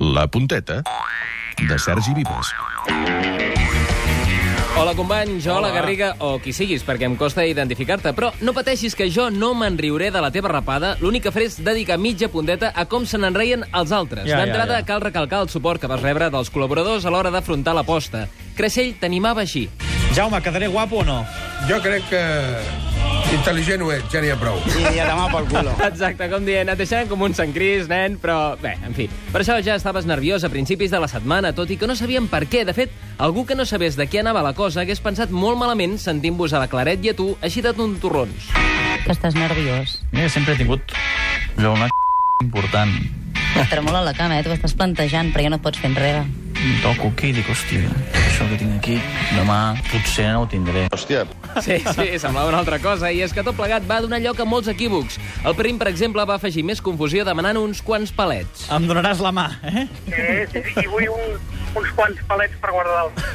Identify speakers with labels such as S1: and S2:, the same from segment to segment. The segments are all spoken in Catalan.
S1: La punteta de Sergi Vives.
S2: Hola, companys, hola, hola, Garriga, o qui siguis, perquè em costa identificar-te. Però no pateixis que jo no me'n riuré de la teva rapada. L'únic que faré és dedicar mitja punteta a com se n'enreien els altres.
S3: Ja, ja,
S2: D'entrada,
S3: ja.
S2: cal recalcar el suport que vas rebre dels col·laboradors a l'hora d'afrontar l'aposta. Creixell t'animava així.
S3: Jaume, quedaré guapo o no?
S4: Jo crec que intel·ligent ho ets, ja n'hi ha prou.
S5: Y a tomar por culo.
S2: Exacte, com dient, et deixarem com un Sant Cris, nen, però bé, en fi. Per això ja estaves nerviós a principis de la setmana, tot i que no sabíem per què. De fet, algú que no sabés de què anava la cosa hagués pensat molt malament sentint-vos a la Claret i a tu així de tontorrons.
S6: que estàs nerviós.
S3: Mira, sempre he tingut jo una important.
S6: Et tremola la cama, eh? T'ho estàs plantejant, però ja no et pots fer enrere.
S3: Em toco aquí i dic, hòstia, això que tinc aquí, demà potser no ho tindré.
S2: Sí, sí, semblava una altra cosa, i és que tot plegat va donar lloc a molts equívocs. El Prim, per exemple, va afegir més confusió demanant uns quants palets.
S3: Em donaràs la mà, eh?
S7: Sí, sí, sí, i vull un, uns quants palets per guardar-los.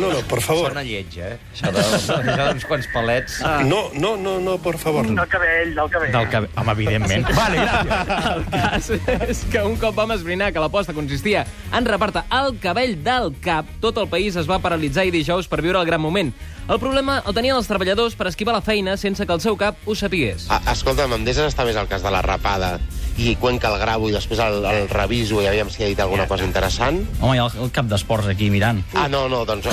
S8: No, no, por favor.
S9: Sona lleig, eh? Això de, això d'uns quants palets.
S8: No, no, no, no, por favor.
S7: Del cabell, del cabell.
S3: Del que... Home, evidentment. Vale, gràcies.
S2: El cas és que un cop vam esbrinar que l'aposta consistia en reparta el cabell del cap, tot el país es va paralitzar i dijous per viure el gran moment. El problema el tenien els treballadors per esquivar la feina sense que el seu cap ho sapigués.
S10: A, Ah, escolta'm, em deixes estar més al cas de la rapada i quan que el gravo i després el, el reviso i aviam si ha dit alguna cosa interessant?
S3: Home, hi ha el, el cap d'esports aquí mirant.
S10: Ah, no, no, doncs...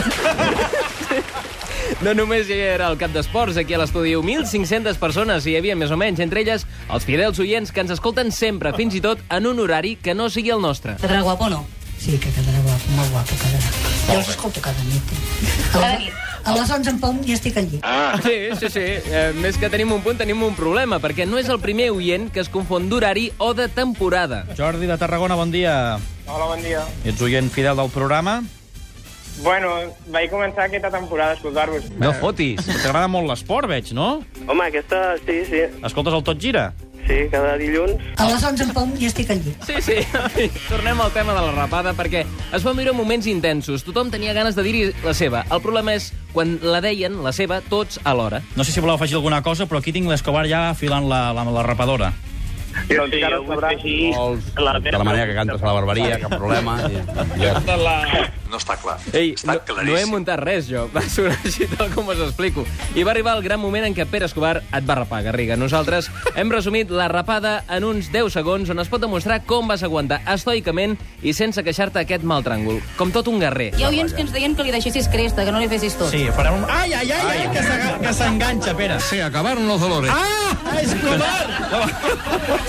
S2: No només hi era el cap d'esports, aquí a l'estudi 1.500 persones, hi havia més o menys, entre elles els fidels oients que ens escolten sempre, fins i tot en un horari que no sigui el nostre.
S6: Quedarà guapo o no?
S11: Sí, que quedarà guapo, molt guapo quedarà. Jo els escolto cada nit. eh? A
S6: Cada
S11: les-
S6: nit.
S11: A les 11 en punt ja estic al llit.
S3: Ah.
S2: Sí, sí, sí. Eh, més que tenim un punt, tenim un problema, perquè no és el primer oient que es confon d'horari o de temporada.
S3: Jordi de Tarragona, bon dia.
S7: Hola, bon dia.
S3: Ets oient fidel del programa?
S7: Bueno, vaig començar aquesta temporada a escoltar-vos.
S3: No fotis. Eh, T'agrada molt l'esport, veig, no?
S7: Home, aquesta... Sí, sí.
S3: Escoltes el Tot Gira?
S7: Sí, cada dilluns.
S11: A les 11 en punt ja estic al llit.
S2: Sí, sí. Tornem al tema de la rapada, perquè es van viure moments intensos. Tothom tenia ganes de dir-hi la seva. El problema és quan la deien, la seva, tots alhora.
S3: No sé si voleu afegir alguna cosa, però aquí tinc l'Escobar ja afilant la, la, la rapadora.
S7: Sí, doncs sí, ho sabrà. La
S9: De la manera que cantes a la barbaria, cap problema. Ja.
S2: Ei, no, no he muntat res, jo. Va sonar així tal com us explico. I va arribar el gran moment en què Pere Escobar et va rapar, Garriga. Nosaltres hem resumit la rapada en uns 10 segons on es pot demostrar com vas aguantar estoicament i sense queixar-te aquest mal tràngol. Com tot un guerrer.
S6: Hi ha oients que ens deien que li deixessis cresta, que no li fessis tot.
S3: Sí, farem un... Ai, ai, ai, ai, que s'aga- que s'enganxa, Pere.
S4: Se acabaron los dolores.
S3: Ah, Escobar!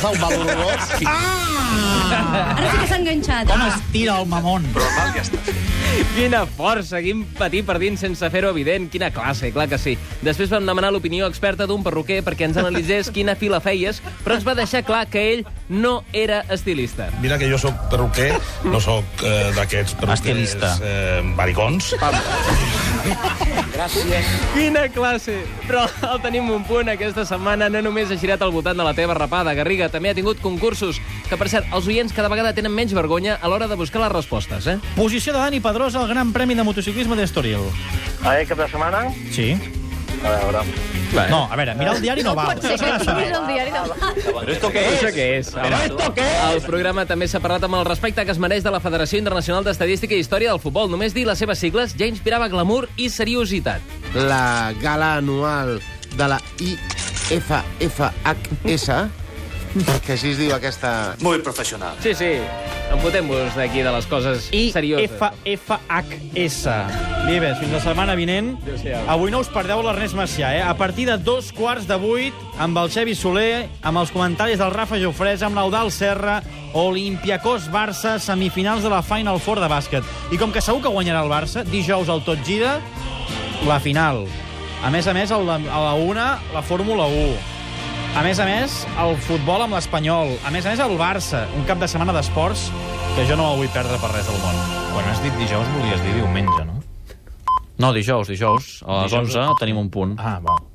S10: Fa un mal horrorós.
S6: Ara sí que s'ha enganxat.
S3: Com es tira el mamon?
S2: Quina força, quin patir per dins sense fer-ho evident. Quina classe, clar que sí. Després vam demanar l'opinió experta d'un perruquer perquè ens analitzés quina fila feies, però ens va deixar clar que ell no era estilista.
S8: Mira que jo sóc perruquer, no sóc eh, d'aquests perruquers...
S3: Estilista.
S8: Eh, baricons.
S2: Quina classe! Però el tenim un punt. Aquesta setmana no només ha girat al voltant de la teva rapada, Garriga, també ha tingut concursos, que per cert, els oients cada vegada tenen menys vergonya a l'hora de buscar les respostes, eh?
S3: Posició de Dani Pedrosa al Gran Premi de Motociclisme d'Estoril.
S7: A veure, cap de setmana?
S3: Sí.
S7: A veure.
S3: No, a veure, mirar el diari no val.
S6: Sí, que tinguis el diari de...
S9: Però esto qué
S2: Això què és? Però esto què és? El programa també s'ha parlat amb el respecte que es mereix de la Federació Internacional d'Estadística i Història del Futbol. Només dir les seves sigles ja inspirava glamour i seriositat.
S10: La gala anual de la IFFHS, perquè així es diu aquesta...
S5: Muy profesional.
S2: Sí, sí. Enfotem-vos d'aquí de les coses
S3: I
S2: serioses.
S3: FFHS. Vives, fins la setmana vinent.
S2: Adéu-siau.
S3: Avui no us perdeu l'Ernest Macià, eh? A partir de dos quarts de vuit, amb el Xevi Soler, amb els comentaris del Rafa Jofresa, amb l'Eudal Serra, Olimpiakos Barça, semifinals de la Final Four de bàsquet. I com que segur que guanyarà el Barça, dijous al Tot Gira, la final. A més a més, a la, a la una, la Fórmula 1. A més a més, el futbol amb l'Espanyol. A més a més, el Barça. Un cap de setmana d'esports que jo no el vull perdre per res del món.
S9: Quan has dit dijous, volies dir diumenge, no?
S3: No, dijous, dijous. A les 11 tenim un punt.
S9: Ah, val.